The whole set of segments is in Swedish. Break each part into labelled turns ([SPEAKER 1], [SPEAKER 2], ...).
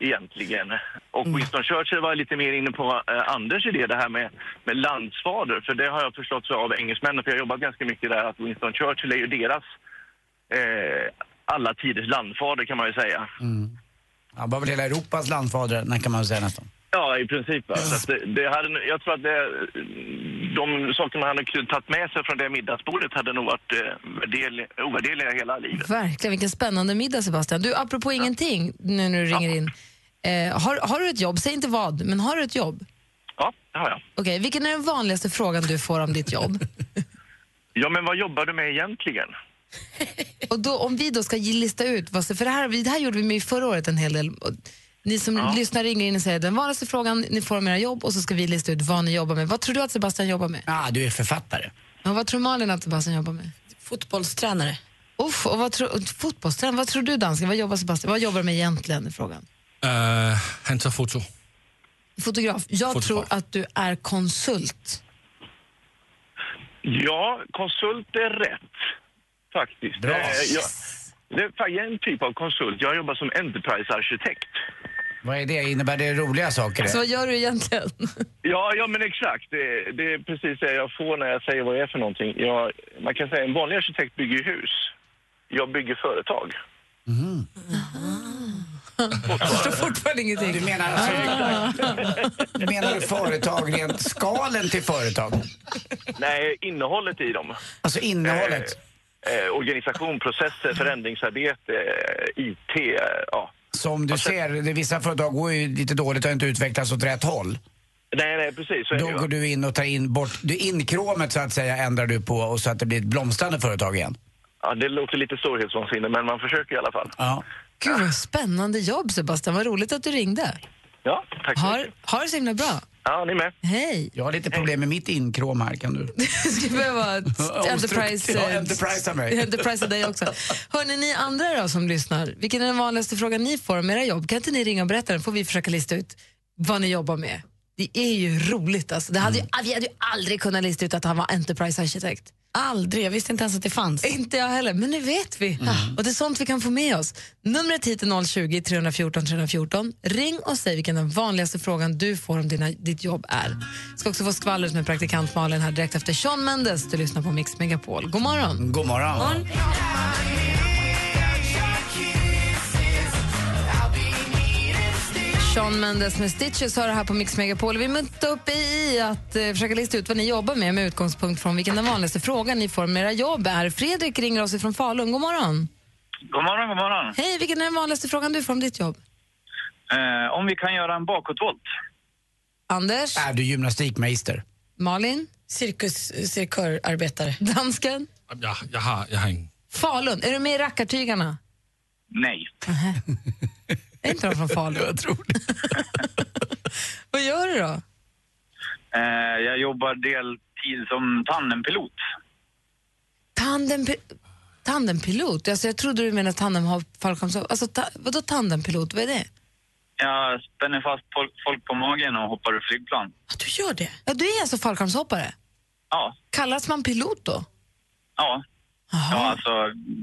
[SPEAKER 1] egentligen? Och Winston Churchill var lite mer inne på eh, Anders idé, det här med, med landsfader. För det har jag förstått så av engelsmännen, för jag har jobbat ganska mycket där, att Winston Churchill är ju deras eh, alla tiders landfader kan man ju säga.
[SPEAKER 2] Han var väl hela Europas landfader, den kan man väl säga nästan.
[SPEAKER 1] Ja, i princip. Va? Så att det, det hade, jag tror att det, de sakerna han hade tagit med sig från det middagsbordet hade nog varit eh, del, ovärderliga hela livet.
[SPEAKER 3] Verkligen. Vilken spännande middag, Sebastian. Du, apropå ingenting, nu när du ringer in. Eh, har, har du ett jobb? Säg inte vad, men har du ett jobb?
[SPEAKER 1] Ja, det har jag.
[SPEAKER 3] Okej, vilken är den vanligaste frågan du får om ditt jobb?
[SPEAKER 1] Ja, men vad jobbar du med egentligen?
[SPEAKER 3] Och då, om vi då ska ge- lista ut, vad, för det här, vi- det här gjorde vi med förra året en hel del. Och Ni som lyssnar ringer in och säger den vanligaste frågan ni får om era jobb och så ska vi lista ut vad ni jobbar med. Vad tror du att Sebastian jobbar med?
[SPEAKER 2] ah, du är författare.
[SPEAKER 3] Och vad tror Malin att Sebastian jobbar med?
[SPEAKER 4] Fotbollstränare.
[SPEAKER 3] Uff, och vad tror, fotbollstränare, vad tror du dansken? Vad jobbar Sebastian, vad jobbar du med egentligen? är Frågan.
[SPEAKER 5] Eh, han tar foto.
[SPEAKER 3] Fotograf, jag
[SPEAKER 5] Fotograf.
[SPEAKER 3] tror att du är konsult.
[SPEAKER 1] Ja, konsult är rätt, faktiskt.
[SPEAKER 2] Bra.
[SPEAKER 1] Eh, jag, det är faktiskt en typ av konsult. Jag jobbar som Enterprise-arkitekt.
[SPEAKER 2] Vad är det? Innebär det roliga saker?
[SPEAKER 3] Så
[SPEAKER 2] det?
[SPEAKER 3] vad gör du egentligen?
[SPEAKER 1] Ja, ja men exakt. Det, det är precis det jag får när jag säger vad jag är för någonting. Jag, man kan säga en vanlig arkitekt bygger ju hus. Jag bygger företag.
[SPEAKER 3] Jag tror fortfarande
[SPEAKER 2] Du
[SPEAKER 3] ingenting.
[SPEAKER 2] menar alltså, menar du företag rent skalen till företag?
[SPEAKER 1] Nej, innehållet i dem.
[SPEAKER 2] Alltså innehållet?
[SPEAKER 1] Eh, organisation, processer, förändringsarbete, eh, IT. Eh, ja.
[SPEAKER 2] Som du
[SPEAKER 5] Alltså-
[SPEAKER 2] ser, det, vissa företag går ju lite dåligt och har inte utvecklats åt rätt håll.
[SPEAKER 1] Nej, nej, precis. Så är det
[SPEAKER 2] Då
[SPEAKER 1] ju.
[SPEAKER 2] går du in och tar in bort, du inkråmet så att säga ändrar du på och så att det blir ett blomstrande företag igen.
[SPEAKER 1] Ja, det låter lite storhetsvansinne, men man försöker i alla fall.
[SPEAKER 2] Ja.
[SPEAKER 3] Gud vad spännande jobb Sebastian, vad roligt att du ringde.
[SPEAKER 1] Ja, tack så
[SPEAKER 3] Har,
[SPEAKER 1] mycket.
[SPEAKER 3] har det så himla bra.
[SPEAKER 1] Ja, ni med.
[SPEAKER 3] Hej!
[SPEAKER 2] Jag har lite problem med mitt inkrom här, kan du?
[SPEAKER 3] Du skulle behöva ett
[SPEAKER 2] Omstruktur-
[SPEAKER 3] Enterprise...
[SPEAKER 2] Ja,
[SPEAKER 3] eh,
[SPEAKER 2] Enterprise av mig.
[SPEAKER 3] Enterprise av dig också. Hörrni, ni andra då som lyssnar, vilken är den vanligaste frågan ni får om era jobb? Kan inte ni ringa och berätta den, får vi försöka lista ut vad ni jobbar med. Det är ju roligt alltså. Det hade ju, Vi hade ju aldrig kunnat lista ut att han var Enterprise-arkitekt.
[SPEAKER 4] Aldrig. Jag visste inte ens att det fanns.
[SPEAKER 3] Inte jag heller, men nu vet vi. Och Det är sånt vi kan få med oss. Numret hit är 020 314 314. Ring och säg vilken den vanligaste frågan du får om dina, ditt jobb är. ska också få skvallret med praktikant Malin här direkt efter Sean Mendes. Du lyssnar på Mix Megapol. God morgon!
[SPEAKER 2] God morgon.
[SPEAKER 3] Sean Mendes med Stitches har det här på Mix Megapol. Vi muntrar upp i att eh, försöka lista ut vad ni jobbar med med utgångspunkt från vilken den vanligaste frågan ni får med era jobb är. Fredrik ringer oss ifrån Falun. God morgon.
[SPEAKER 6] God morgon, god morgon.
[SPEAKER 3] Hej, vilken är den vanligaste frågan du får om ditt jobb?
[SPEAKER 6] Eh, om vi kan göra en bakåtvolt.
[SPEAKER 3] Anders?
[SPEAKER 2] Är du gymnastikmeister?
[SPEAKER 3] Malin?
[SPEAKER 7] Cirkus, cirkörarbetare.
[SPEAKER 3] Dansken?
[SPEAKER 5] Jeg, jeg, har, jeg har ingen.
[SPEAKER 3] Falun? Är du med i Rackartygarna?
[SPEAKER 6] Nej.
[SPEAKER 3] Är inte de från Falun?
[SPEAKER 2] Jag tror
[SPEAKER 3] Vad gör du då?
[SPEAKER 6] Eh, jag jobbar deltid som tandempilot.
[SPEAKER 3] Tandempi tandempilot? Alltså, jag trodde du menade tandemhopp-fallskärmshopp. Alltså, ta vadå tandempilot? Vad är det?
[SPEAKER 6] Jag spänner fast folk, folk på magen och hoppar ur flygplan.
[SPEAKER 7] Ja, du gör det?
[SPEAKER 3] Ja, du är alltså fallskärmshoppare?
[SPEAKER 6] Ja,
[SPEAKER 3] Kallas man pilot då?
[SPEAKER 6] ja.
[SPEAKER 3] Jaha.
[SPEAKER 6] ja alltså,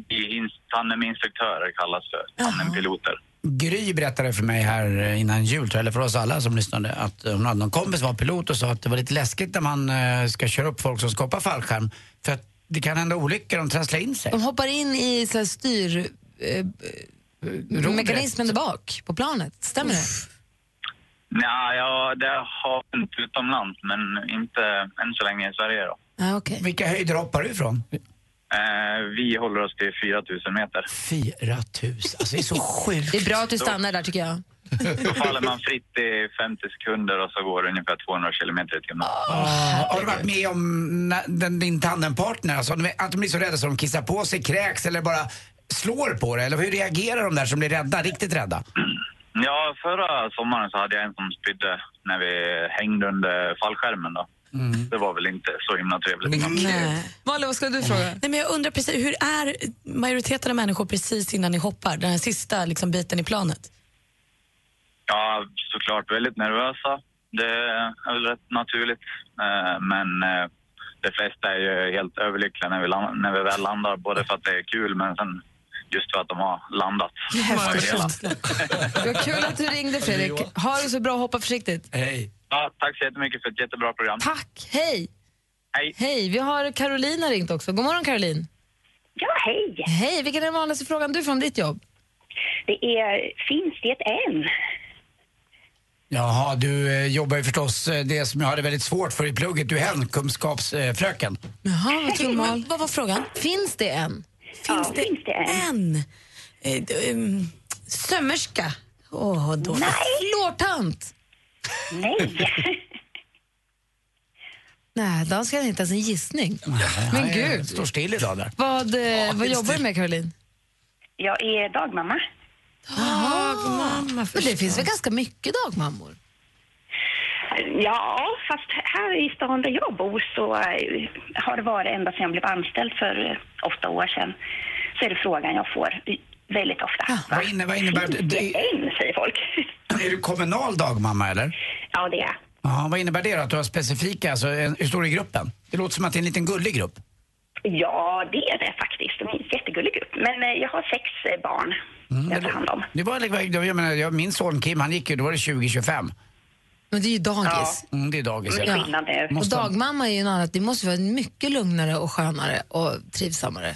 [SPEAKER 6] i ins- tandeminstruktörer kallas för tandempiloter.
[SPEAKER 2] Gry berättade för mig här eh, innan jul, tror jag, eller för oss alla som lyssnade, att eh, hon hade någon kompis som var pilot och sa att det var lite läskigt när man eh, ska köra upp folk som ska hoppa fallskärm. För att det kan hända olyckor, de trasslar in sig.
[SPEAKER 3] De hoppar in i så här, styr... Eh,
[SPEAKER 2] Rodret.
[SPEAKER 3] mekanismen där bak på planet, stämmer det?
[SPEAKER 6] Nej, ja, det har hänt utomlands, men inte än så länge i Sverige. Då.
[SPEAKER 3] Ja, okej.
[SPEAKER 2] Vilka höjder hoppar du ifrån?
[SPEAKER 6] Eh, vi håller oss till 4000 meter.
[SPEAKER 2] 4000. Alltså det är så sjukt.
[SPEAKER 3] Det är bra att du stannar där tycker jag.
[SPEAKER 6] Då faller man fritt i 50 sekunder och så går det ungefär 200 kilometer i timmen.
[SPEAKER 2] Ah, har du varit med om när, den, din tandempartner, alltså, att de blir så rädda så de kissar på sig, kräks eller bara slår på det? Eller hur reagerar de där som blir rädda, riktigt rädda?
[SPEAKER 6] Ja, förra sommaren så hade jag en som spydde när vi hängde under fallskärmen då. Det var väl inte så himla trevligt.
[SPEAKER 7] Nej.
[SPEAKER 3] Malin, vad skulle du fråga?
[SPEAKER 7] Nej, men jag undrar precis, hur är majoriteten av människor precis innan ni hoppar? Den här sista liksom, biten i planet?
[SPEAKER 6] Ja, såklart väldigt nervösa. Det är väl rätt naturligt. Eh, Men eh, de flesta är ju helt överlyckliga när vi, land- när vi väl landar. Både för att det är kul men sen just för att de har landat.
[SPEAKER 3] Det var kul att du ringde Fredrik. Ha det så bra, hoppa försiktigt.
[SPEAKER 2] Hej.
[SPEAKER 6] Ja, tack så jättemycket för ett jättebra program.
[SPEAKER 3] Tack, hej!
[SPEAKER 6] Hej!
[SPEAKER 3] Hej, vi har Carolina ringt också. God morgon Caroline.
[SPEAKER 8] Ja, hej.
[SPEAKER 3] Hej, vilken är den vanligaste frågan du får om ditt jobb?
[SPEAKER 8] Det är, finns det ett än?
[SPEAKER 2] Jaha, du eh, jobbar ju förstås eh, det som jag hade väldigt svårt för i plugget. Du är hemkunskapsfröken.
[SPEAKER 3] Jaha, vad tror Mal?
[SPEAKER 7] Vad var frågan?
[SPEAKER 3] Finns det en?
[SPEAKER 7] Finns det,
[SPEAKER 8] finns det
[SPEAKER 7] en? Eh, d- ehm, sömmerska? Åh, vad dåligt.
[SPEAKER 3] Lårtant?
[SPEAKER 8] Nej.
[SPEAKER 3] Nej, då ska det inte ens en gissning. Men gud.
[SPEAKER 2] Står still idag där.
[SPEAKER 3] Vad, eh, vad jobbar du med Caroline?
[SPEAKER 8] Jag är dagmamma.
[SPEAKER 7] Dagmamma,
[SPEAKER 3] Ah. Men det finns väl ganska mycket dagmammor?
[SPEAKER 8] Ja, fast här i stan där jag bor så eh, har det varit ända sedan jag blev anställd för eh, åtta år sedan. Så är det frågan jag får i- väldigt ofta.
[SPEAKER 2] Vad, inne, vad innebär
[SPEAKER 8] Finns det
[SPEAKER 2] det?
[SPEAKER 8] än, säger folk.
[SPEAKER 2] Är du kommunal dagmamma eller?
[SPEAKER 8] Ja, det är jag.
[SPEAKER 2] Jaha, vad innebär det då? Att du har specifika, alltså en, hur stor är gruppen? Det låter som att det är en liten gullig grupp.
[SPEAKER 8] Ja, det är det faktiskt. De är en jättegullig grupp. Men eh, jag har sex eh, barn
[SPEAKER 7] Mm,
[SPEAKER 8] jag tar hand om.
[SPEAKER 2] Det var, jag menar, jag, min son Kim, han gick ju, då var det 20-25.
[SPEAKER 3] Men det är ju dagis.
[SPEAKER 2] Mm, det är dagis.
[SPEAKER 8] Det är
[SPEAKER 2] Ja.
[SPEAKER 8] skillnad nu.
[SPEAKER 3] Och
[SPEAKER 2] Måste-
[SPEAKER 3] dagmamma är ju en annan, det måste vara mycket lugnare och skönare och trivsammare,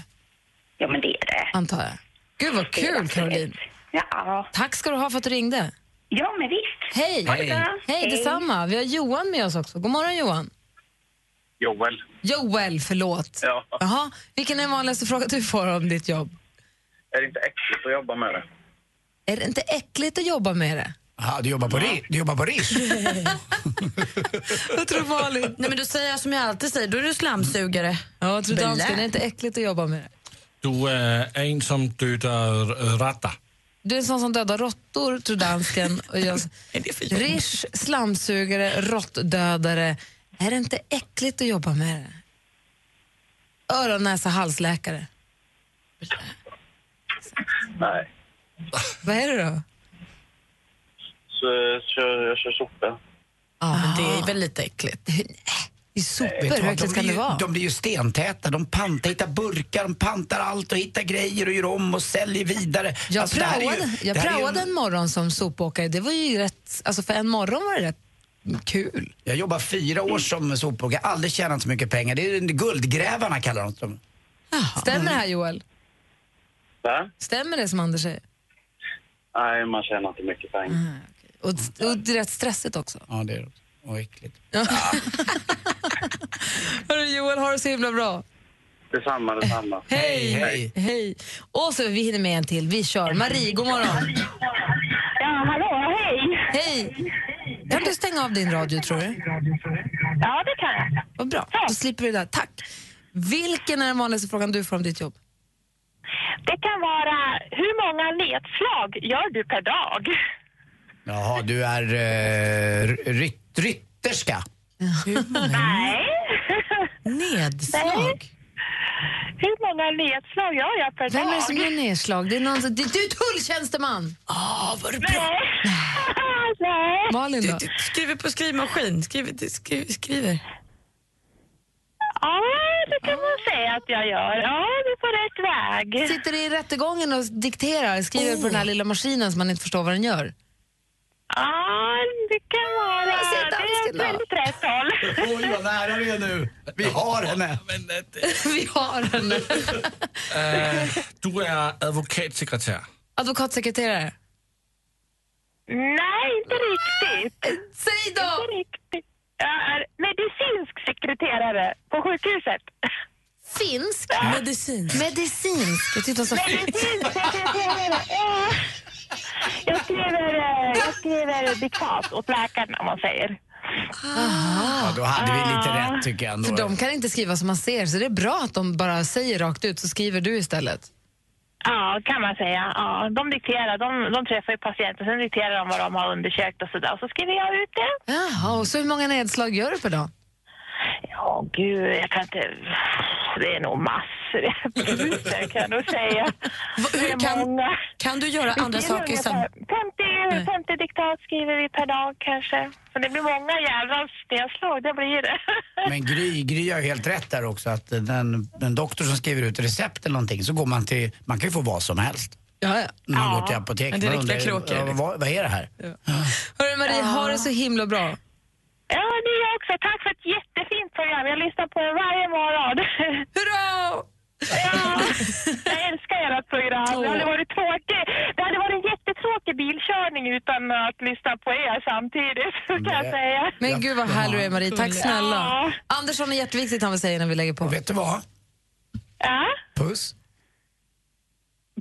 [SPEAKER 8] Ja, men det är det.
[SPEAKER 3] antar jag. Gud vad
[SPEAKER 8] Det är
[SPEAKER 3] kul
[SPEAKER 8] absolut.
[SPEAKER 3] Caroline.
[SPEAKER 8] Ja,
[SPEAKER 3] Tack ska du ha för att du ringde.
[SPEAKER 8] ja men visst.
[SPEAKER 3] Hej!
[SPEAKER 8] Ha det bra.
[SPEAKER 3] Hej, detsamma. Vi har Johan med oss också. God morgon Johan.
[SPEAKER 6] Joel.
[SPEAKER 3] Joel, förlåt.
[SPEAKER 6] Ja.
[SPEAKER 3] Jaha, vilken är den vanligaste frågan du får om ditt jobb?
[SPEAKER 6] Är det inte äckligt att jobba med det?
[SPEAKER 3] Är det inte äckligt att jobba med det?
[SPEAKER 2] Aha, du jobbar på, ri- du jobbar på Rish?
[SPEAKER 3] Vad tror Malin?
[SPEAKER 7] Nej, men då säger jag som jag alltid säger, då är du slamsugare.
[SPEAKER 3] Ja, vad tror dansken? Är
[SPEAKER 7] Belä.
[SPEAKER 3] det inte äckligt att jobba med det?
[SPEAKER 5] Du er en, som døtter retter.
[SPEAKER 3] Du är en sån som dödar råttor, tror dansken. Och jag... Rish, slamsugare, råttdödare. Är det inte äckligt att jobba med det? Öron, näsa, halsläkare.
[SPEAKER 6] Nej.
[SPEAKER 3] Vad är det då?
[SPEAKER 6] Så jag kör, jag kör sopor.
[SPEAKER 7] Ja, men
[SPEAKER 3] Ah.
[SPEAKER 7] det är väl lite äckligt.
[SPEAKER 3] I
[SPEAKER 2] Vet
[SPEAKER 3] sopor,
[SPEAKER 2] du
[SPEAKER 3] hur
[SPEAKER 2] vad, de,
[SPEAKER 3] äckligt
[SPEAKER 2] blir
[SPEAKER 3] kan
[SPEAKER 2] ju,
[SPEAKER 3] det vara?
[SPEAKER 2] de blir ju stentäta, de pantar, hittar burkar, de pantar allt och hittar grejer och gör om och säljer vidare.
[SPEAKER 3] Jag
[SPEAKER 2] Alltså, det här är ju-
[SPEAKER 3] praoade, jag
[SPEAKER 2] det här är ju
[SPEAKER 3] praoade
[SPEAKER 2] en-
[SPEAKER 3] en morgon som sopåkare. Det var ju rätt, alltså för en morgon var det rätt kul.
[SPEAKER 2] Jag jobbar fyra
[SPEAKER 3] Mm.
[SPEAKER 2] år som sopåkare, aldrig tjänat så mycket pengar. Det är ju guldgrävarna kallar de dem.
[SPEAKER 3] Stämmer det här
[SPEAKER 2] Mm.
[SPEAKER 3] Joel?
[SPEAKER 6] Va?
[SPEAKER 3] Stämmer det som Anders säger?
[SPEAKER 6] Nej, man tjänar inte mycket pengar.
[SPEAKER 3] Ah, okej. Och, och det är rätt stressigt också.
[SPEAKER 2] Ja, det är det. Och äckligt.
[SPEAKER 3] Hörru Joel, ha det så himla bra.
[SPEAKER 9] Detsamma, detsamma.
[SPEAKER 3] Hej! Hej! hej. Och så vi hinner med en till. Vi kör. Marie, god morgon.
[SPEAKER 10] Ja, hallå, hej!
[SPEAKER 3] Hej! Kan du stänga av din radio, tror du?
[SPEAKER 10] Ja, det kan jag.
[SPEAKER 3] Vad bra. Då slipper vi det där. Tack. Vilken är den vanligaste frågan du får om ditt jobb?
[SPEAKER 10] Det kan vara, hur många nedslag gör du per dag?
[SPEAKER 2] Jaha, du är eh, ry- rytterska.
[SPEAKER 10] Nej.
[SPEAKER 7] Ah,
[SPEAKER 3] Nedslag?
[SPEAKER 10] Hur många nedslag gör jag per
[SPEAKER 3] Vem är det
[SPEAKER 10] dag?
[SPEAKER 3] som gör nedslag? Det är någon som... Det är du tulltjänsteman!
[SPEAKER 7] Ah, vad du bra.
[SPEAKER 10] Nej.
[SPEAKER 3] Malin då?
[SPEAKER 7] Du, du skriver på skrivmaskin. Skriver, du skriver, skriver.
[SPEAKER 10] Ja, det kan man säga att jag gör. Ja, du är på rätt väg.
[SPEAKER 3] Sitter i rättegången och dikterar, skriver på den
[SPEAKER 10] Oh.
[SPEAKER 3] här lilla maskinen som man inte förstår vad den gör.
[SPEAKER 10] Ja, det kan vara. Det är väldigt rätt håll.
[SPEAKER 2] Oj, vad nära vi är nu. Vi har henne.
[SPEAKER 3] Vi har henne.
[SPEAKER 5] Eh, du är advokatsekretär.
[SPEAKER 3] Advokatsekreterare?
[SPEAKER 10] Nej, inte riktigt.
[SPEAKER 3] Eh, Säg då!
[SPEAKER 10] Inte riktigt. Jag är medicinsk sekreterare på sjukhuset.
[SPEAKER 3] Finsk?
[SPEAKER 7] Medicinsk?
[SPEAKER 3] Medicinsk. Jag tyckte hon sa finsk.
[SPEAKER 10] Medicinsk sekreterare. Ja. Jag skriver, eh, jag skriver diktat åt läkaren om man säger.
[SPEAKER 2] Ja, då hade vi lite rätt tycker jag ändå.
[SPEAKER 3] För Ah. de kan inte skriva som man ser, så det är bra att de bara säger rakt ut, så skriver du istället.
[SPEAKER 10] Ja, kan man säga. Ja, de dikterar, de, de träffar ju patienten, sen dikterar de vad de har undersökt och sådär. Och så skriver jag ut det.
[SPEAKER 3] Jaha, och så hur många nedslag gör du per dag?
[SPEAKER 10] Ja, gud, jag kan inte... Det är nog massor. Tusen kan jag nog säga. Det är
[SPEAKER 7] Kan,
[SPEAKER 10] många.
[SPEAKER 7] kan du göra
[SPEAKER 10] Det
[SPEAKER 7] andra
[SPEAKER 10] blir
[SPEAKER 7] saker
[SPEAKER 10] ungefär
[SPEAKER 7] sen?
[SPEAKER 10] 50, 50 diktat skriver vi per dag kanske. Så det blir många jävla nedslag, det blir det.
[SPEAKER 2] Men Gry, Gry har ju helt rätt där också att den, den doktor som skriver ut recept eller någonting så går man till, man kan ju få vad som helst.
[SPEAKER 3] Ja, ja.
[SPEAKER 2] När man går till apoteket.
[SPEAKER 3] Men det är
[SPEAKER 2] Man
[SPEAKER 3] riktiga
[SPEAKER 2] undrar ju,
[SPEAKER 3] kråkor,
[SPEAKER 2] ja,
[SPEAKER 3] liksom.
[SPEAKER 2] vad, vad är det här?
[SPEAKER 3] Hörru Marie, ha det så himla bra.
[SPEAKER 10] Ja, ni också. Tack för ett jättefint program. Jag lyssnar på er varje morgon.
[SPEAKER 3] Hurra!
[SPEAKER 10] Ja, jag älskar ert program. Det hade varit tråkigt. Det hade varit en jättetråkig bilkörning utan att lyssna på er samtidigt, kan jag säga.
[SPEAKER 3] Men gud vad härlig du är Marie, tack snälla. Anders har något jätteviktigt han vill säga innan vi lägger på.
[SPEAKER 2] Vet du vad?
[SPEAKER 10] Ja,
[SPEAKER 2] Puss.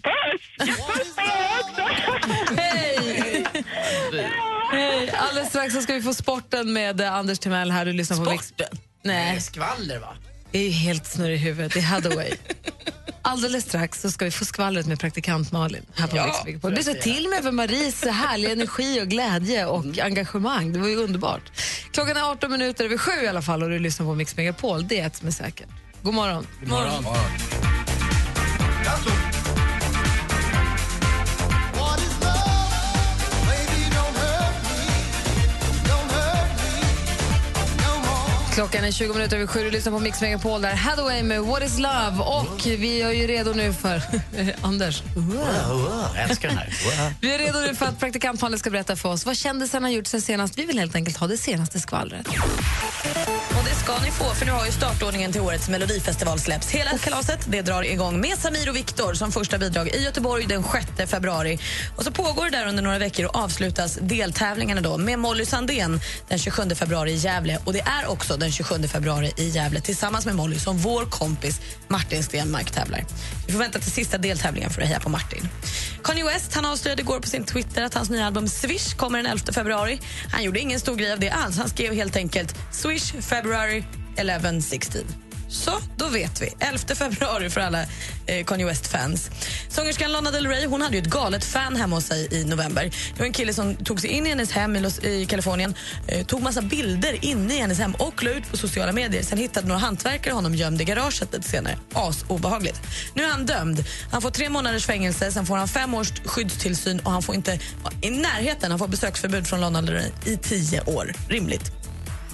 [SPEAKER 10] puss! Jag pussar er också.
[SPEAKER 3] Hej! Hej! Alldeles strax så ska vi få sporten med eh, Anders Timell här. Du lyssnar på Vix- Nej,
[SPEAKER 2] Skvaller va?
[SPEAKER 3] det är ju helt snurr i huvudet. Det är Hathaway. Alldeles strax så ska vi få skvallret med praktikant Malin här på
[SPEAKER 7] Ja,
[SPEAKER 3] Mix Megapol. Det sa
[SPEAKER 7] precis.
[SPEAKER 3] till mig för Maries härliga energi och glädje och engagemang. Det var ju underbart. Klockan är 18 minuter över sju i alla fall och du lyssnar på Mix Megapol. Det är ett som är säkert. God morgon.
[SPEAKER 2] God morgon.
[SPEAKER 3] Klockan är 20 minuter över sju och lyssnar på Mix Megapol där Hathaway med What is love och vi är ju redo nu för Anders.
[SPEAKER 2] Jag älskar den här.
[SPEAKER 3] Vi är redo nu för att praktikant Malin ska berätta för oss vad kändisarna har gjort sen senast. Vi vill helt enkelt ha det senaste skvallret.
[SPEAKER 11] Och det ska ni få, för nu har ju startordningen till årets melodifestival släppts. Hela kalaset det drar igång med Samir och Viktor som första bidrag i Göteborg den 6 februari. Och så pågår det där under några veckor och avslutas deltävlingarna då med Molly Sandén den 27 februari i Gävle. Och det är också den 27 februari i Gävle tillsammans med Molly som vår kompis Martin Stenmark tävlar. Vi får vänta till sista deltävlingen för att heja på Martin. Kanye West han avslöjade igår på sin Twitter att hans nya album Swish kommer den 11 februari. Han gjorde ingen stor grej av det alls. Han skrev helt enkelt Swish February 11 16. Så, då vet vi. 11 februari för alla eh, Kanye West-fans. Sångerskan Lana Del Rey hon hade ju ett galet fan hemma hos sig i november. Det var en kille som tog sig in i hennes hem i, Los, i Kalifornien, eh, tog massa bilder inne i hennes hem och la ut på sociala medier. Sen hittade några hantverkare honom gömd i garaget lite senare. Asobehagligt. Nu är han dömd. Han får tre månaders fängelse, sen får han fem års skyddstillsyn och han får inte vara i närheten. Han får besöksförbud från Lana Del Rey i tio år. Rimligt.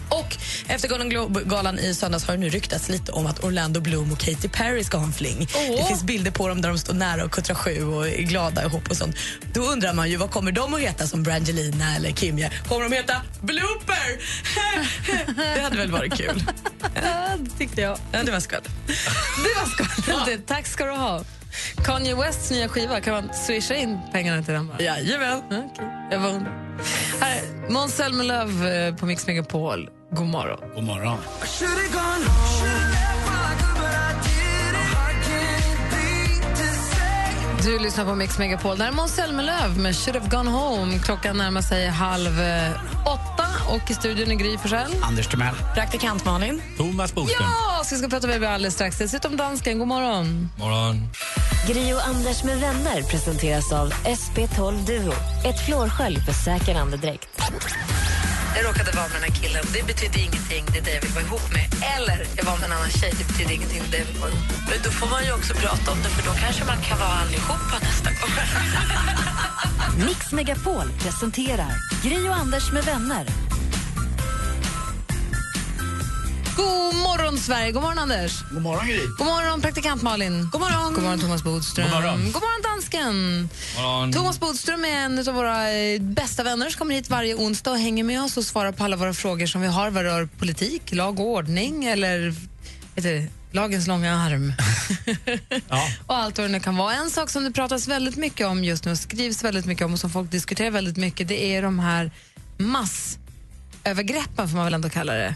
[SPEAKER 11] Och efter Golden Globe-galan i söndags har det nu ryktats lite om att Orlando Bloom och Katy Perry ska ha en fling. Det finns bilder på dem där de står nära och kuttrar sju och är glada ihop och sånt. Då undrar man ju vad kommer de att heta som Brangelina eller Kim? Ja, Kommer de heta Blooper? det hade väl varit kul?
[SPEAKER 3] det tyckte jag.
[SPEAKER 11] Ja, det var skott.
[SPEAKER 3] Det var skvallret. Tack ska du ha. Kanye Wests nya skiva, kan man swisha in pengarna till den? Bara?
[SPEAKER 11] Jajamän.
[SPEAKER 3] Okay. Jag var Här är Måns Zelmerlöw eh, på Mix Megapol. God morgon.
[SPEAKER 2] God morgon.
[SPEAKER 3] Du lyssnar på Mix Megapol. Det här är Måns Zelmerlöw med Should have gone home. Klockan närmar sig halv eh, åtta och i studion är Gry Forssell.
[SPEAKER 2] Anders Timell.
[SPEAKER 3] Praktikant Malin.
[SPEAKER 12] Thomas Bodström.
[SPEAKER 3] Ja, så vi ska prata med Baby alldeles strax. Dessutom dansken. God morgon.
[SPEAKER 12] Morgon.
[SPEAKER 13] Gri och Anders med vänner presenteras av SP12 Duo. Ett flårskölj för säker andedräkt.
[SPEAKER 4] Jag råkade vara med den här killen. Det betyder ingenting, det är det jag vill vara ihop med. Eller jag var med en annan tjej, det betyder ingenting, det är det jag vill vara ihop med. Men då får man ju också prata om det, för då kanske man kan vara allihopa nästa gång.
[SPEAKER 13] Mix Megapol presenterar Gri och Anders med vänner.
[SPEAKER 3] God morgon, Sverige. God morgon, Anders.
[SPEAKER 2] God morgon, Gry.
[SPEAKER 3] God morgon, praktikant Malin. God morgon. God morgon, Thomas Bodström.
[SPEAKER 12] God morgon.
[SPEAKER 3] God morgon, dansken.
[SPEAKER 12] Morgon.
[SPEAKER 3] Thomas Bodström är en av våra eh, bästa vänner som kommer hit varje onsdag och hänger med oss och svarar på alla våra frågor som vi har vad rör politik, lag och ordning eller vet du, lagens långa arm. och allt vad det nu kan vara. En sak som det pratas väldigt mycket om just nu och skrivs väldigt mycket om och som folk diskuterar väldigt mycket det är de här massövergreppen får man väl ändå kalla det.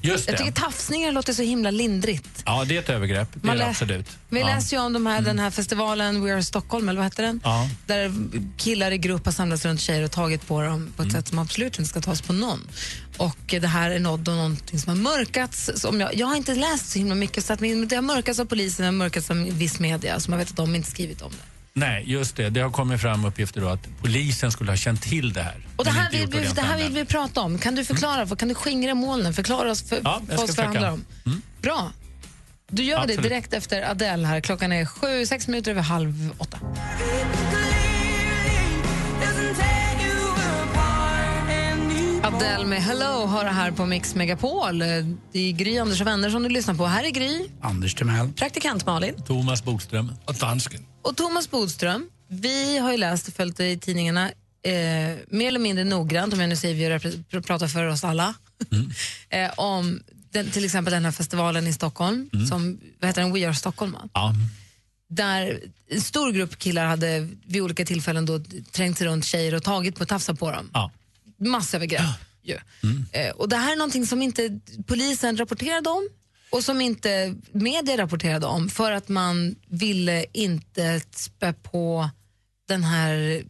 [SPEAKER 12] Just
[SPEAKER 3] Jag
[SPEAKER 12] det.
[SPEAKER 3] tycker tafsningar låter så himla lindrigt.
[SPEAKER 12] Ja, det är ett övergrepp. Det
[SPEAKER 3] Man
[SPEAKER 12] är det
[SPEAKER 3] lä-
[SPEAKER 12] absolut.
[SPEAKER 3] Vi
[SPEAKER 12] ja. Mm.
[SPEAKER 3] läser ju om de här, den här festivalen We Are Stockholm, eller vad heter den?
[SPEAKER 12] Ja.
[SPEAKER 3] Där killar i grupp har samlats runt tjejer och tagit på dem på ett
[SPEAKER 12] Mm.
[SPEAKER 3] sätt som absolut inte ska tas på någon. Och eh, det här är något, och någonting som har mörkats. Som jag, jag har inte läst så himla mycket, så att min, det har mörkats av polisen, det har mörkats av viss media, så man vet att de inte skrivit om det.
[SPEAKER 12] Nej, just det. Det har kommit fram uppgifter då att polisen skulle ha känt till det här.
[SPEAKER 3] Och det
[SPEAKER 12] men
[SPEAKER 3] här,
[SPEAKER 12] inte
[SPEAKER 3] vill,
[SPEAKER 12] gjort
[SPEAKER 3] vi, det
[SPEAKER 12] ordentligt
[SPEAKER 3] här
[SPEAKER 12] om
[SPEAKER 3] vill vi prata om. Kan du förklara, vad- kan du skingra molnen? Förklara oss för,
[SPEAKER 12] Mm. Ja, jag ska
[SPEAKER 3] för oss vad det
[SPEAKER 12] försöka. Mm.
[SPEAKER 3] handlar om. Bra. Du gör
[SPEAKER 12] Absolut.
[SPEAKER 3] det direkt efter Adele här. Klockan är sju, sex minuter över halv åtta. Adele med Hello har det här på Mix Megapol. Det är Gry, Anders och vänner som du lyssnar på. Här är Gry.
[SPEAKER 2] Anders Timell.
[SPEAKER 3] Praktikant Malin.
[SPEAKER 12] Thomas Bodström. Och dansken.
[SPEAKER 3] Och Thomas Bodström, vi har ju läst och följt dig i tidningarna eh, mer eller mindre noggrant, om jag nu säger vi repre- pr- pratar för oss alla, eh, om den, till exempel den här festivalen i Stockholm,
[SPEAKER 12] Mm.
[SPEAKER 3] som vad heter den? We Are Stockholm va?
[SPEAKER 12] Ja.
[SPEAKER 3] Där en stor grupp killar hade vid olika tillfällen då trängt sig runt tjejer och tagit på tafsat på dem.
[SPEAKER 12] Ja.
[SPEAKER 3] Massövergrepp. ju.
[SPEAKER 2] Mm.
[SPEAKER 3] Eh, och det här är någonting som inte polisen rapporterade om och som inte media rapporterade om för att man ville inte spä på den här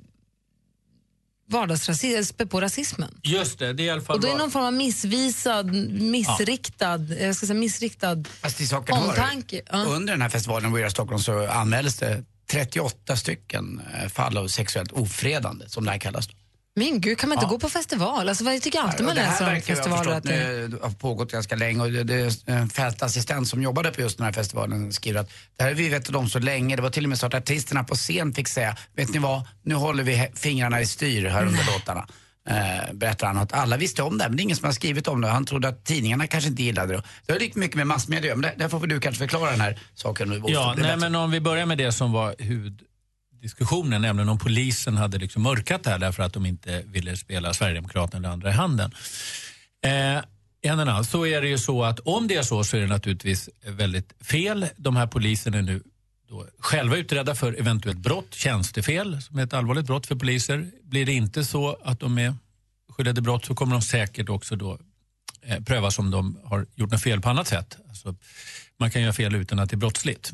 [SPEAKER 3] vardagsrasismen, spä på rasismen.
[SPEAKER 12] Just det. Det är i alla fall
[SPEAKER 3] Och då är det
[SPEAKER 12] vad-
[SPEAKER 3] någon form av missvisad, missriktad, jag ska säga missriktad
[SPEAKER 2] Fast i saken hör,
[SPEAKER 3] omtanke. Ja.
[SPEAKER 2] Under den här festivalen We Are Stockholm så anmäldes det 38 stycken eh, fall av sexuellt ofredande, som det här kallas.
[SPEAKER 3] Men gud, kan man inte
[SPEAKER 2] Ja.
[SPEAKER 3] gå på festival? Alltså, vad- jag tycker alltid
[SPEAKER 2] Och
[SPEAKER 3] man
[SPEAKER 2] det här
[SPEAKER 3] läser om
[SPEAKER 2] verkar ju ha
[SPEAKER 3] festivaler.
[SPEAKER 2] förstått
[SPEAKER 3] Att det...
[SPEAKER 2] nu har pågått ganska länge och det, det, en fältassistent som jobbade på just den här festivalen skriver att det här har vi vetat om så länge. Det var till och med så att artisterna på scen fick säga, vet ni vad, nu håller vi he- fingrarna i styr här under låtarna. Eh, berättar han att alla visste om det här, men det är ingen som har skrivit om det. Han trodde att tidningarna kanske inte gillade det. Det har lika mycket med massmedia men det, där får väl du kanske förklara den här saken. nu, Boström.
[SPEAKER 12] Ja,
[SPEAKER 2] Det
[SPEAKER 12] nej,
[SPEAKER 2] är bättre.
[SPEAKER 12] men om vi börjar med det som var huvuddiskussionen, nämligen om polisen hade liksom mörkat det här därför att de inte ville spela Sverigedemokraterna eller andra i handen. Eh, i händerna, så är det ju så att om det är så så är det naturligtvis väldigt fel. De här poliserna är nu då själva utredda för eventuellt brott, tjänstefel, som är ett allvarligt brott för poliser. Blir det inte så att de är skyddade brott så kommer de säkert också då eh, prövas om de har gjort något fel på annat sätt. Alltså, man kan göra fel utan att det är brottsligt.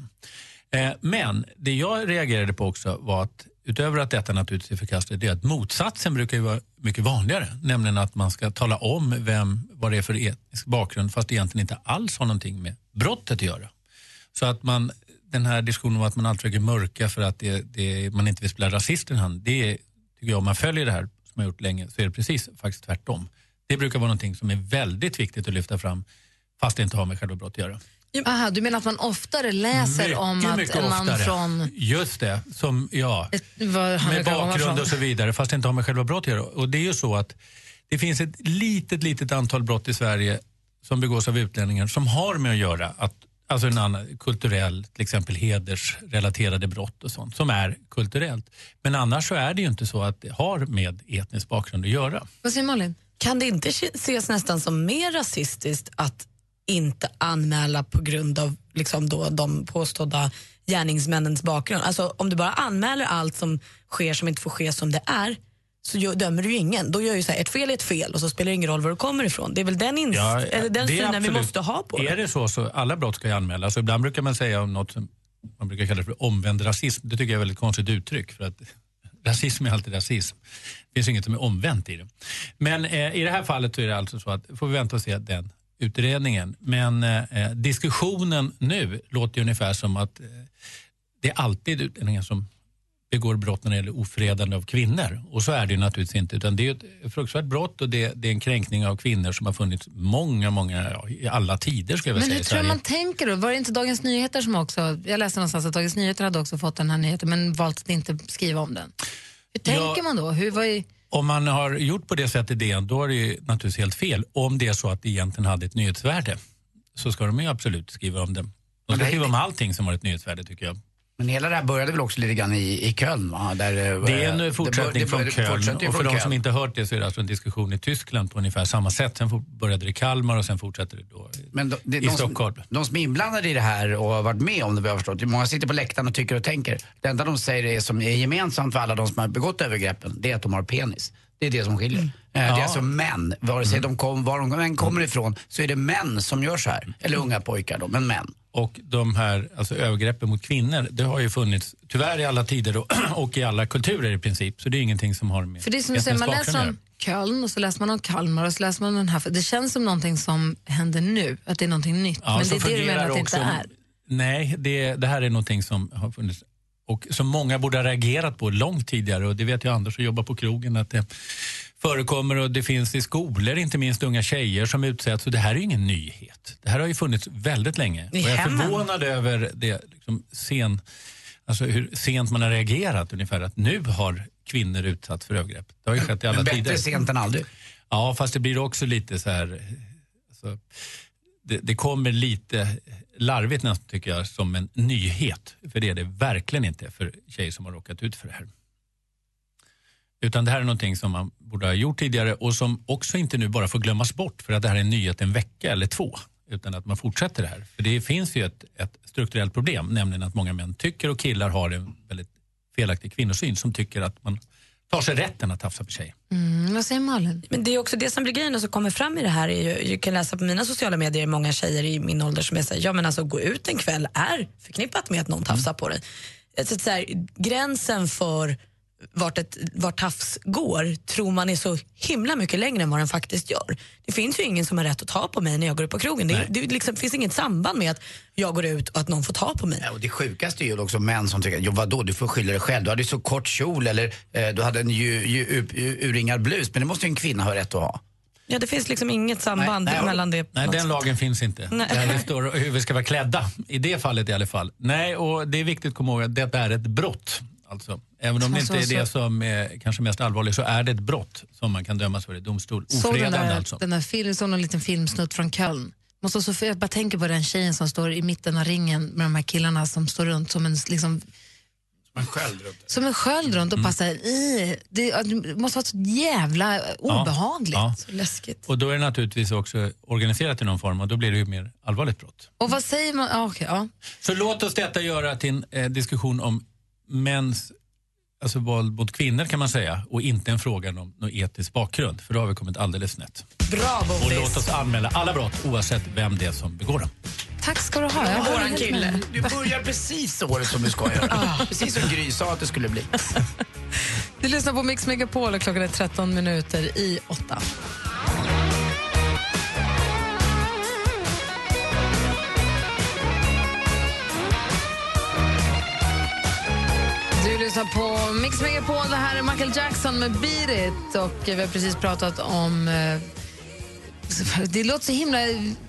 [SPEAKER 12] Eh, men det jag reagerade på också var att utöver att detta naturligtvis är förkastligt, det är att motsatsen brukar ju vara mycket vanligare. Nämligen att man ska tala om vem, vad det är för etnisk bakgrund fast det egentligen inte alls har någonting med brottet att göra. Så att man, den här diskussionen om att man alltid försöker mörka för att det, det, man inte vill spela rasisten i hand, det är, tycker jag om man följer det här som jag har gjort länge så är det precis faktiskt tvärtom. Det brukar vara någonting som är väldigt viktigt att lyfta fram fast det inte har med själva brott att göra.
[SPEAKER 3] Aha, du menar att man oftare läser om att en man från...
[SPEAKER 12] Just det, som, ja,
[SPEAKER 3] Vad han
[SPEAKER 12] med
[SPEAKER 3] brukar komma
[SPEAKER 12] bakgrund
[SPEAKER 3] från.
[SPEAKER 12] och så vidare fast det inte har med själva brottet att göra. Och det är ju så att det finns ett litet, litet antal brott i Sverige som begås av utlänningar som har med att göra att Alltså en annan, kulturell, till exempel hedersrelaterade brott och sånt som är kulturellt. Men annars så är det ju inte så att det har med etnisk bakgrund att göra.
[SPEAKER 3] Vad säger Malin?
[SPEAKER 7] Kan det inte ki- ses nästan som mer rasistiskt att inte anmäla på grund av liksom då de påstådda gärningsmännens bakgrund? Alltså om du bara anmäler allt som sker som inte får ske som det är, så gö- dömer du ju ingen. Då gör ju så här, ett fel är ett fel och så spelar det ingen roll var du kommer ifrån. Det är väl den, inst-
[SPEAKER 12] Ja,
[SPEAKER 7] eller den
[SPEAKER 12] det är
[SPEAKER 7] synen vi
[SPEAKER 12] absolut.
[SPEAKER 7] måste ha på
[SPEAKER 12] Är det så så alla brott ska ju anmälas. Och Ibland brukar man säga om något som man brukar kalla för omvänd rasism. Det tycker jag är ett väldigt konstigt uttryck. För att rasism är alltid rasism. Det finns inget som är omvänt i det. Men eh, i det här fallet så är det alltså så att får vi vänta och se den utredningen. Men eh, eh, diskussionen nu låter ju ungefär som att eh, det är alltid utlänningar som begår brott när det gäller ofredande av kvinnor. Och så är det ju naturligtvis inte. Utan det är ju ett fruktansvärt brott och det, det är en kränkning av kvinnor som har funnits många, många, ja, i alla tider skulle jag vilja
[SPEAKER 3] Men
[SPEAKER 12] säga
[SPEAKER 3] hur
[SPEAKER 12] i
[SPEAKER 3] tror du
[SPEAKER 12] Sverige.
[SPEAKER 3] man tänker då? Var det inte Dagens Nyheter som också, jag läste någonstans att Dagens Nyheter hade också fått den här nyheten men valt att inte skriva om den. Hur
[SPEAKER 12] Ja.
[SPEAKER 3] tänker man då? Hur, vad är,
[SPEAKER 12] Om man har gjort på det sättet DN, då är det ju naturligtvis helt fel. Om det är så att det egentligen hade ett nyhetsvärde så ska de ju absolut skriva om det. De ska skriva om allting som har ett nyhetsvärde tycker jag.
[SPEAKER 2] Men hela det här började väl också lite grann i, i Köln? Va? Där, eh,
[SPEAKER 12] Det är
[SPEAKER 2] bör-
[SPEAKER 12] en fortsättning
[SPEAKER 2] det bör- det
[SPEAKER 12] från Köln.
[SPEAKER 2] fortsätter ju
[SPEAKER 12] Och för
[SPEAKER 2] från
[SPEAKER 12] de som
[SPEAKER 2] Köln.
[SPEAKER 12] inte hört det så är det alltså en diskussion i Tyskland på ungefär samma sätt. Sen for- började det i Kalmar och sen fortsätter det då
[SPEAKER 2] Men de, det,
[SPEAKER 12] i
[SPEAKER 2] de,
[SPEAKER 12] Stockholm.
[SPEAKER 2] Som, de som är inblandade i det här och har varit med om det, vad jag har förstått. det är Många som sitter på läktaren och tycker och tänker. Det enda de säger är, som är gemensamt för alla de som har begått övergreppen, det är att de har penis. Det är det som skiljer. Eh,
[SPEAKER 12] Ja.
[SPEAKER 2] Det
[SPEAKER 12] Mm.
[SPEAKER 2] är alltså män, vare sig de kom, var de än kommer ifrån, så är det män som gör så här. Eller unga pojkar då, men män.
[SPEAKER 12] Och de här alltså, övergreppen mot kvinnor, det har ju funnits tyvärr i alla tider och, och i alla kulturer i princip. Så det är ingenting som har med
[SPEAKER 3] för det är som du säger,
[SPEAKER 12] etnisk
[SPEAKER 3] man
[SPEAKER 12] bakgrund att
[SPEAKER 3] läser
[SPEAKER 12] göra.
[SPEAKER 3] om Köln och så läser man om Kalmar och så läser man om den här. För det känns som någonting som händer nu, att det är någonting nytt.
[SPEAKER 12] Ja,
[SPEAKER 3] men det
[SPEAKER 12] så
[SPEAKER 3] är det du menar
[SPEAKER 12] fungerar
[SPEAKER 3] att det
[SPEAKER 12] också-
[SPEAKER 3] inte är.
[SPEAKER 12] Nej, det, det här är någonting som har funnits och som många borde ha reagerat på långt tidigare. Och Det vet jag Anders som jobbar på krogen att det förekommer och det finns i skolor, inte minst unga tjejer som utsätts. Och det här är ju ingen nyhet. Det här har ju funnits väldigt länge. Och
[SPEAKER 14] I
[SPEAKER 12] jag är
[SPEAKER 14] hemmen.
[SPEAKER 12] förvånad över det liksom, sen, alltså hur sent man har reagerat ungefär. Att nu har kvinnor utsatts för övergrepp. Det har ju skett i alla
[SPEAKER 2] Men bättre
[SPEAKER 12] tider.
[SPEAKER 2] sent än aldrig.
[SPEAKER 12] Ja, fast det blir också lite så här... Alltså, det, det kommer lite larvigt nästan tycker jag som en nyhet. För det är det verkligen inte för tjejer som har råkat ut för det här. Utan det här är någonting som man borde ha gjort tidigare och som också inte nu bara får glömmas bort för att det här är en nyhet en vecka eller två. Utan att man fortsätter det här. För det finns ju ett, ett strukturellt problem, nämligen att många män tycker och killar har en väldigt felaktig kvinnosyn som tycker att man tar sig rätten att tafsa på tjejer.
[SPEAKER 3] Mm, vad säger Malin?
[SPEAKER 7] Men det är också det som blir grejen och som kommer fram i det här. Är ju, jag kan läsa på mina sociala medier många tjejer i min ålder som är så här, ja men alltså gå ut en kväll är förknippat med att någon tafsar på dig. Så, att så här, gränsen för vart, ett, vart tafs går tror man är så himla mycket längre än vad den faktiskt gör. Det finns ju ingen som har rätt att ta på mig när jag går ut på krogen. Det, det liksom, finns inget samband med att jag går ut och att någon får ta på mig.
[SPEAKER 2] Ja, och det sjukaste är ju också män som tycker, jo vadå du får skylla dig själv, du hade ju så kort kjol eller eh, du hade en ju, ju, upp- ju, urringad blus. Men det måste ju en kvinna ha rätt att ha.
[SPEAKER 7] Ja, det finns liksom inget samband
[SPEAKER 12] Nej, nej,
[SPEAKER 7] mellan det.
[SPEAKER 12] Nej,
[SPEAKER 7] på något
[SPEAKER 12] den
[SPEAKER 7] sätt.
[SPEAKER 12] lagen finns inte.
[SPEAKER 7] Nej.
[SPEAKER 12] Där Det står hur vi ska vara klädda, i det fallet i alla fall. Nej, och det är viktigt att komma ihåg att detta är ett brott. Alltså, även om det
[SPEAKER 3] Alltså,
[SPEAKER 12] inte är det
[SPEAKER 3] så-
[SPEAKER 12] som är kanske mest allvarligt så är det ett brott som man kan dömas för i domstol.
[SPEAKER 3] Såg den
[SPEAKER 12] Ofredande
[SPEAKER 3] där,
[SPEAKER 12] alltså.
[SPEAKER 3] den där filmen, såg någon liten filmsnutt från Köln. Måste vara så, för jag bara tänker på den tjejen som står i mitten av ringen med de här killarna som står runt som en, liksom,
[SPEAKER 2] Man själv
[SPEAKER 3] som en sköld runt och bara så här, "Ih." det, det måste vara så jävla obehagligt.
[SPEAKER 12] ja.
[SPEAKER 3] Så läskigt.
[SPEAKER 12] Och då är det naturligtvis också organiserat i någon form och då blir det ju mer allvarligt brott.
[SPEAKER 3] Och vad säger man? Ah, okej, ja.
[SPEAKER 12] Så låt oss detta göra till en eh, diskussion om mäns alltså våld mot kvinnor kan man säga och inte en fråga om någon etisk bakgrund för då har vi kommit alldeles snett.
[SPEAKER 7] Bra
[SPEAKER 12] Och låt oss anmäla alla brott oavsett vem det är som begår dem.
[SPEAKER 3] Tack ska du ha. Jag
[SPEAKER 2] Du
[SPEAKER 3] håller
[SPEAKER 2] har en
[SPEAKER 3] helt
[SPEAKER 2] kille.
[SPEAKER 3] med.
[SPEAKER 2] Du börjar precis året som du ska göra. precis som Gry sa att det skulle bli.
[SPEAKER 3] Du lyssnar på Mix Megapol och klockan är 13 minuter i åtta. Du lyssnar på Mix Megapol. Det här är Michael Jackson med Beat It. Och eh, vi har precis pratat om... eh, Det låter så himla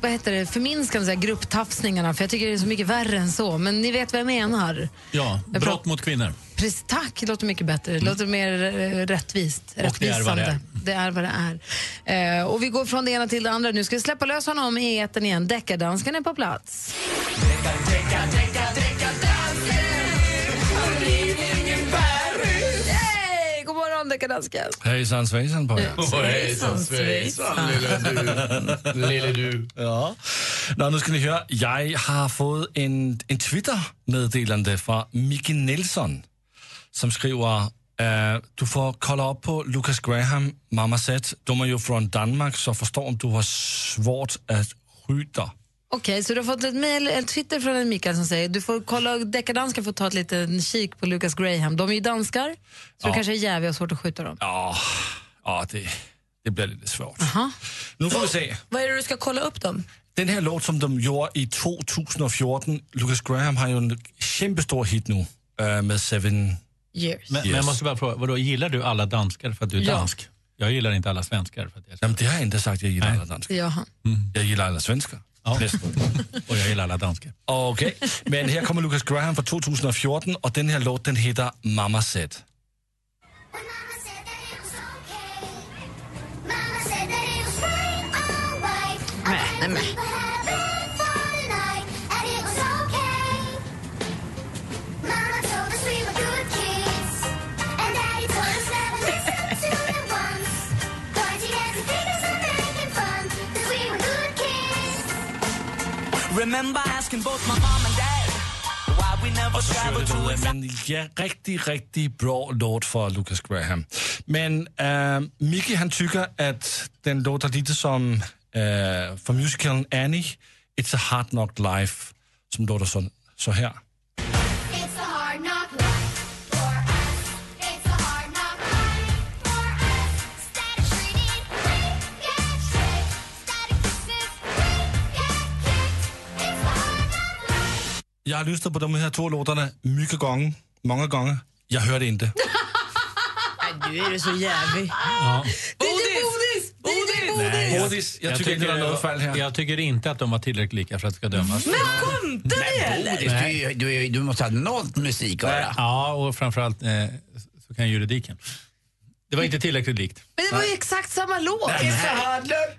[SPEAKER 3] vad heter det, förminskande, så här, grupptafsningarna. För jag tycker det är så mycket värre än så. Men ni vet vad jag menar.
[SPEAKER 12] Ja, brott mot kvinnor.
[SPEAKER 3] Precis, tack, det låter mycket bättre. Det låter mer eh, rättvist.
[SPEAKER 12] Och det är vad det är.
[SPEAKER 3] Det är vad det är. Eh, och vi går från det ena till det andra. Nu ska vi släppa lös honom i etern igen. Deckardansken är på plats. Yay! God morgon, deckardansken.
[SPEAKER 14] Hejsan svejsan på er.
[SPEAKER 3] Hejsan, Hejsan, svejsan,
[SPEAKER 14] du. lille du. Ja. Nå, nu ska ni höra. Jag har fått en, en Twitter-meddelande från Micke Nelson som skriver
[SPEAKER 5] Eh, du får kolla upp på Lucas Graham, Mamma Set. De är ju från Danmark, så förstå om du har svårt att skjuta.
[SPEAKER 3] Okej, så du har fått ett mail, en Twitter från en Mikael som säger du får kolla, deckardanskarna får ta ett litet kik på Lucas Graham. De är ju danskar,
[SPEAKER 5] Ja.
[SPEAKER 3] så du kanske är jävig och svårt att skjuta dem.
[SPEAKER 5] Ja, ja det, det blir lite svårt.
[SPEAKER 3] Aha.
[SPEAKER 5] Nu får vi se.
[SPEAKER 11] Vad är det du ska kolla upp dem?
[SPEAKER 5] Den här låt som de gjorde i 2014, Lucas Graham har ju en kämpestor hit nu eh, med Seven...
[SPEAKER 3] Years.
[SPEAKER 12] Men, men jag måste bara fråga, vadå, gillar du alla danskar för att du är
[SPEAKER 5] Ja.
[SPEAKER 12] dansk? Jag gillar inte alla svenskar. För att jag är
[SPEAKER 5] Jamen, det har jag inte sagt, jag gillar alla danskar.
[SPEAKER 3] Det gör han.
[SPEAKER 5] Jag gillar alla svenskar. Nästan.
[SPEAKER 12] Och jag gillar alla danskar.
[SPEAKER 5] Okej, men här kommer Lucas Graham från 2014 och den här låten heter Mamma Set.
[SPEAKER 11] Nej, nej.
[SPEAKER 15] Remember asking both my mom and dad why we never
[SPEAKER 5] Och så kör
[SPEAKER 15] traveled
[SPEAKER 5] vi
[SPEAKER 15] to
[SPEAKER 5] vidare. Men ja, riktigt, riktigt bra låt för Lucas Graham. Men äh, Mickey han tycker att den låter lite som äh, från musicalen Annie, It's a Hard Knock Life, som låter så, så här. Jag har lyssnat på de här två låtarna mycket gånger, många gånger. Jag hör det inte.
[SPEAKER 11] Nej, nu är du så jävig.
[SPEAKER 12] Ja.
[SPEAKER 3] Bodis! Bodis!
[SPEAKER 12] Nej, jag-
[SPEAKER 5] Bodis, jag tycker inte det är något
[SPEAKER 12] jag, jag tycker inte att de var tillräckligt lika för att det ska dömas.
[SPEAKER 11] kom, Daniel!
[SPEAKER 2] Bodis, du, är- du, är- du måste ha något musiköra.
[SPEAKER 5] Ah,
[SPEAKER 12] Ja, och framförallt eh,
[SPEAKER 5] øh,
[SPEAKER 12] så kan juridiken. Det var inte tillräckligt likt.
[SPEAKER 3] Men det var ju exakt samma låt.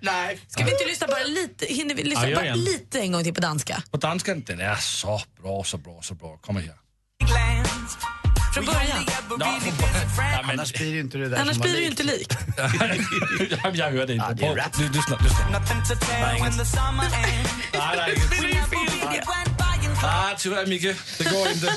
[SPEAKER 12] Nej.
[SPEAKER 7] Ska vi inte lyssna bara lite, hinner vi lyssna
[SPEAKER 5] Ja, gör
[SPEAKER 7] bara
[SPEAKER 5] igen.
[SPEAKER 7] lite en gång till på danska?
[SPEAKER 5] På danskan, den är så bra, så bra, så bra. Kom här.
[SPEAKER 7] Från början.
[SPEAKER 2] Annars blir det ju inte det där
[SPEAKER 7] Annars
[SPEAKER 2] som var
[SPEAKER 7] blir det ju
[SPEAKER 2] likt.
[SPEAKER 7] inte likt.
[SPEAKER 5] Jamen, jag hörde inte.
[SPEAKER 2] det är
[SPEAKER 5] Prøv.
[SPEAKER 2] rätt.
[SPEAKER 5] Ly- Lyssna, lyssna.
[SPEAKER 15] Nej,
[SPEAKER 5] nej. Ah, tyvärr Micke, det går inte.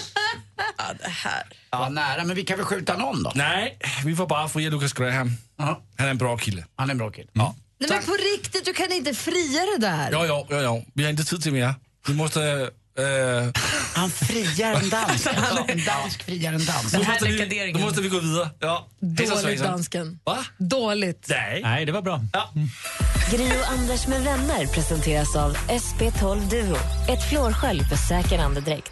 [SPEAKER 2] Ja, det här. Ja, nära, men vi kan väl skjuta någon då?
[SPEAKER 5] Nej, vi får bara fria Lucas Graham. Han är en bra kille.
[SPEAKER 2] Han är en bra kille.
[SPEAKER 5] Ja.
[SPEAKER 3] Nej, men på riktigt, du kan inte fria det där.
[SPEAKER 5] Jo, jo, jo, jo. Vi har inte tid till mer. Vi måste... eh,
[SPEAKER 2] Han friar en dansk. Ja, en dansk friar en dansk.
[SPEAKER 5] nu, måste vi, nu måste vi gå vidare. Ja. Hejsan,
[SPEAKER 3] Dåligt
[SPEAKER 5] svejsan.
[SPEAKER 3] dansken. Dåligt.
[SPEAKER 5] Nej.
[SPEAKER 12] Nej, det var bra.
[SPEAKER 13] Gri och Anders med vänner presenteras av SP12 Duo. Ett flårskölj för säker andedräkt.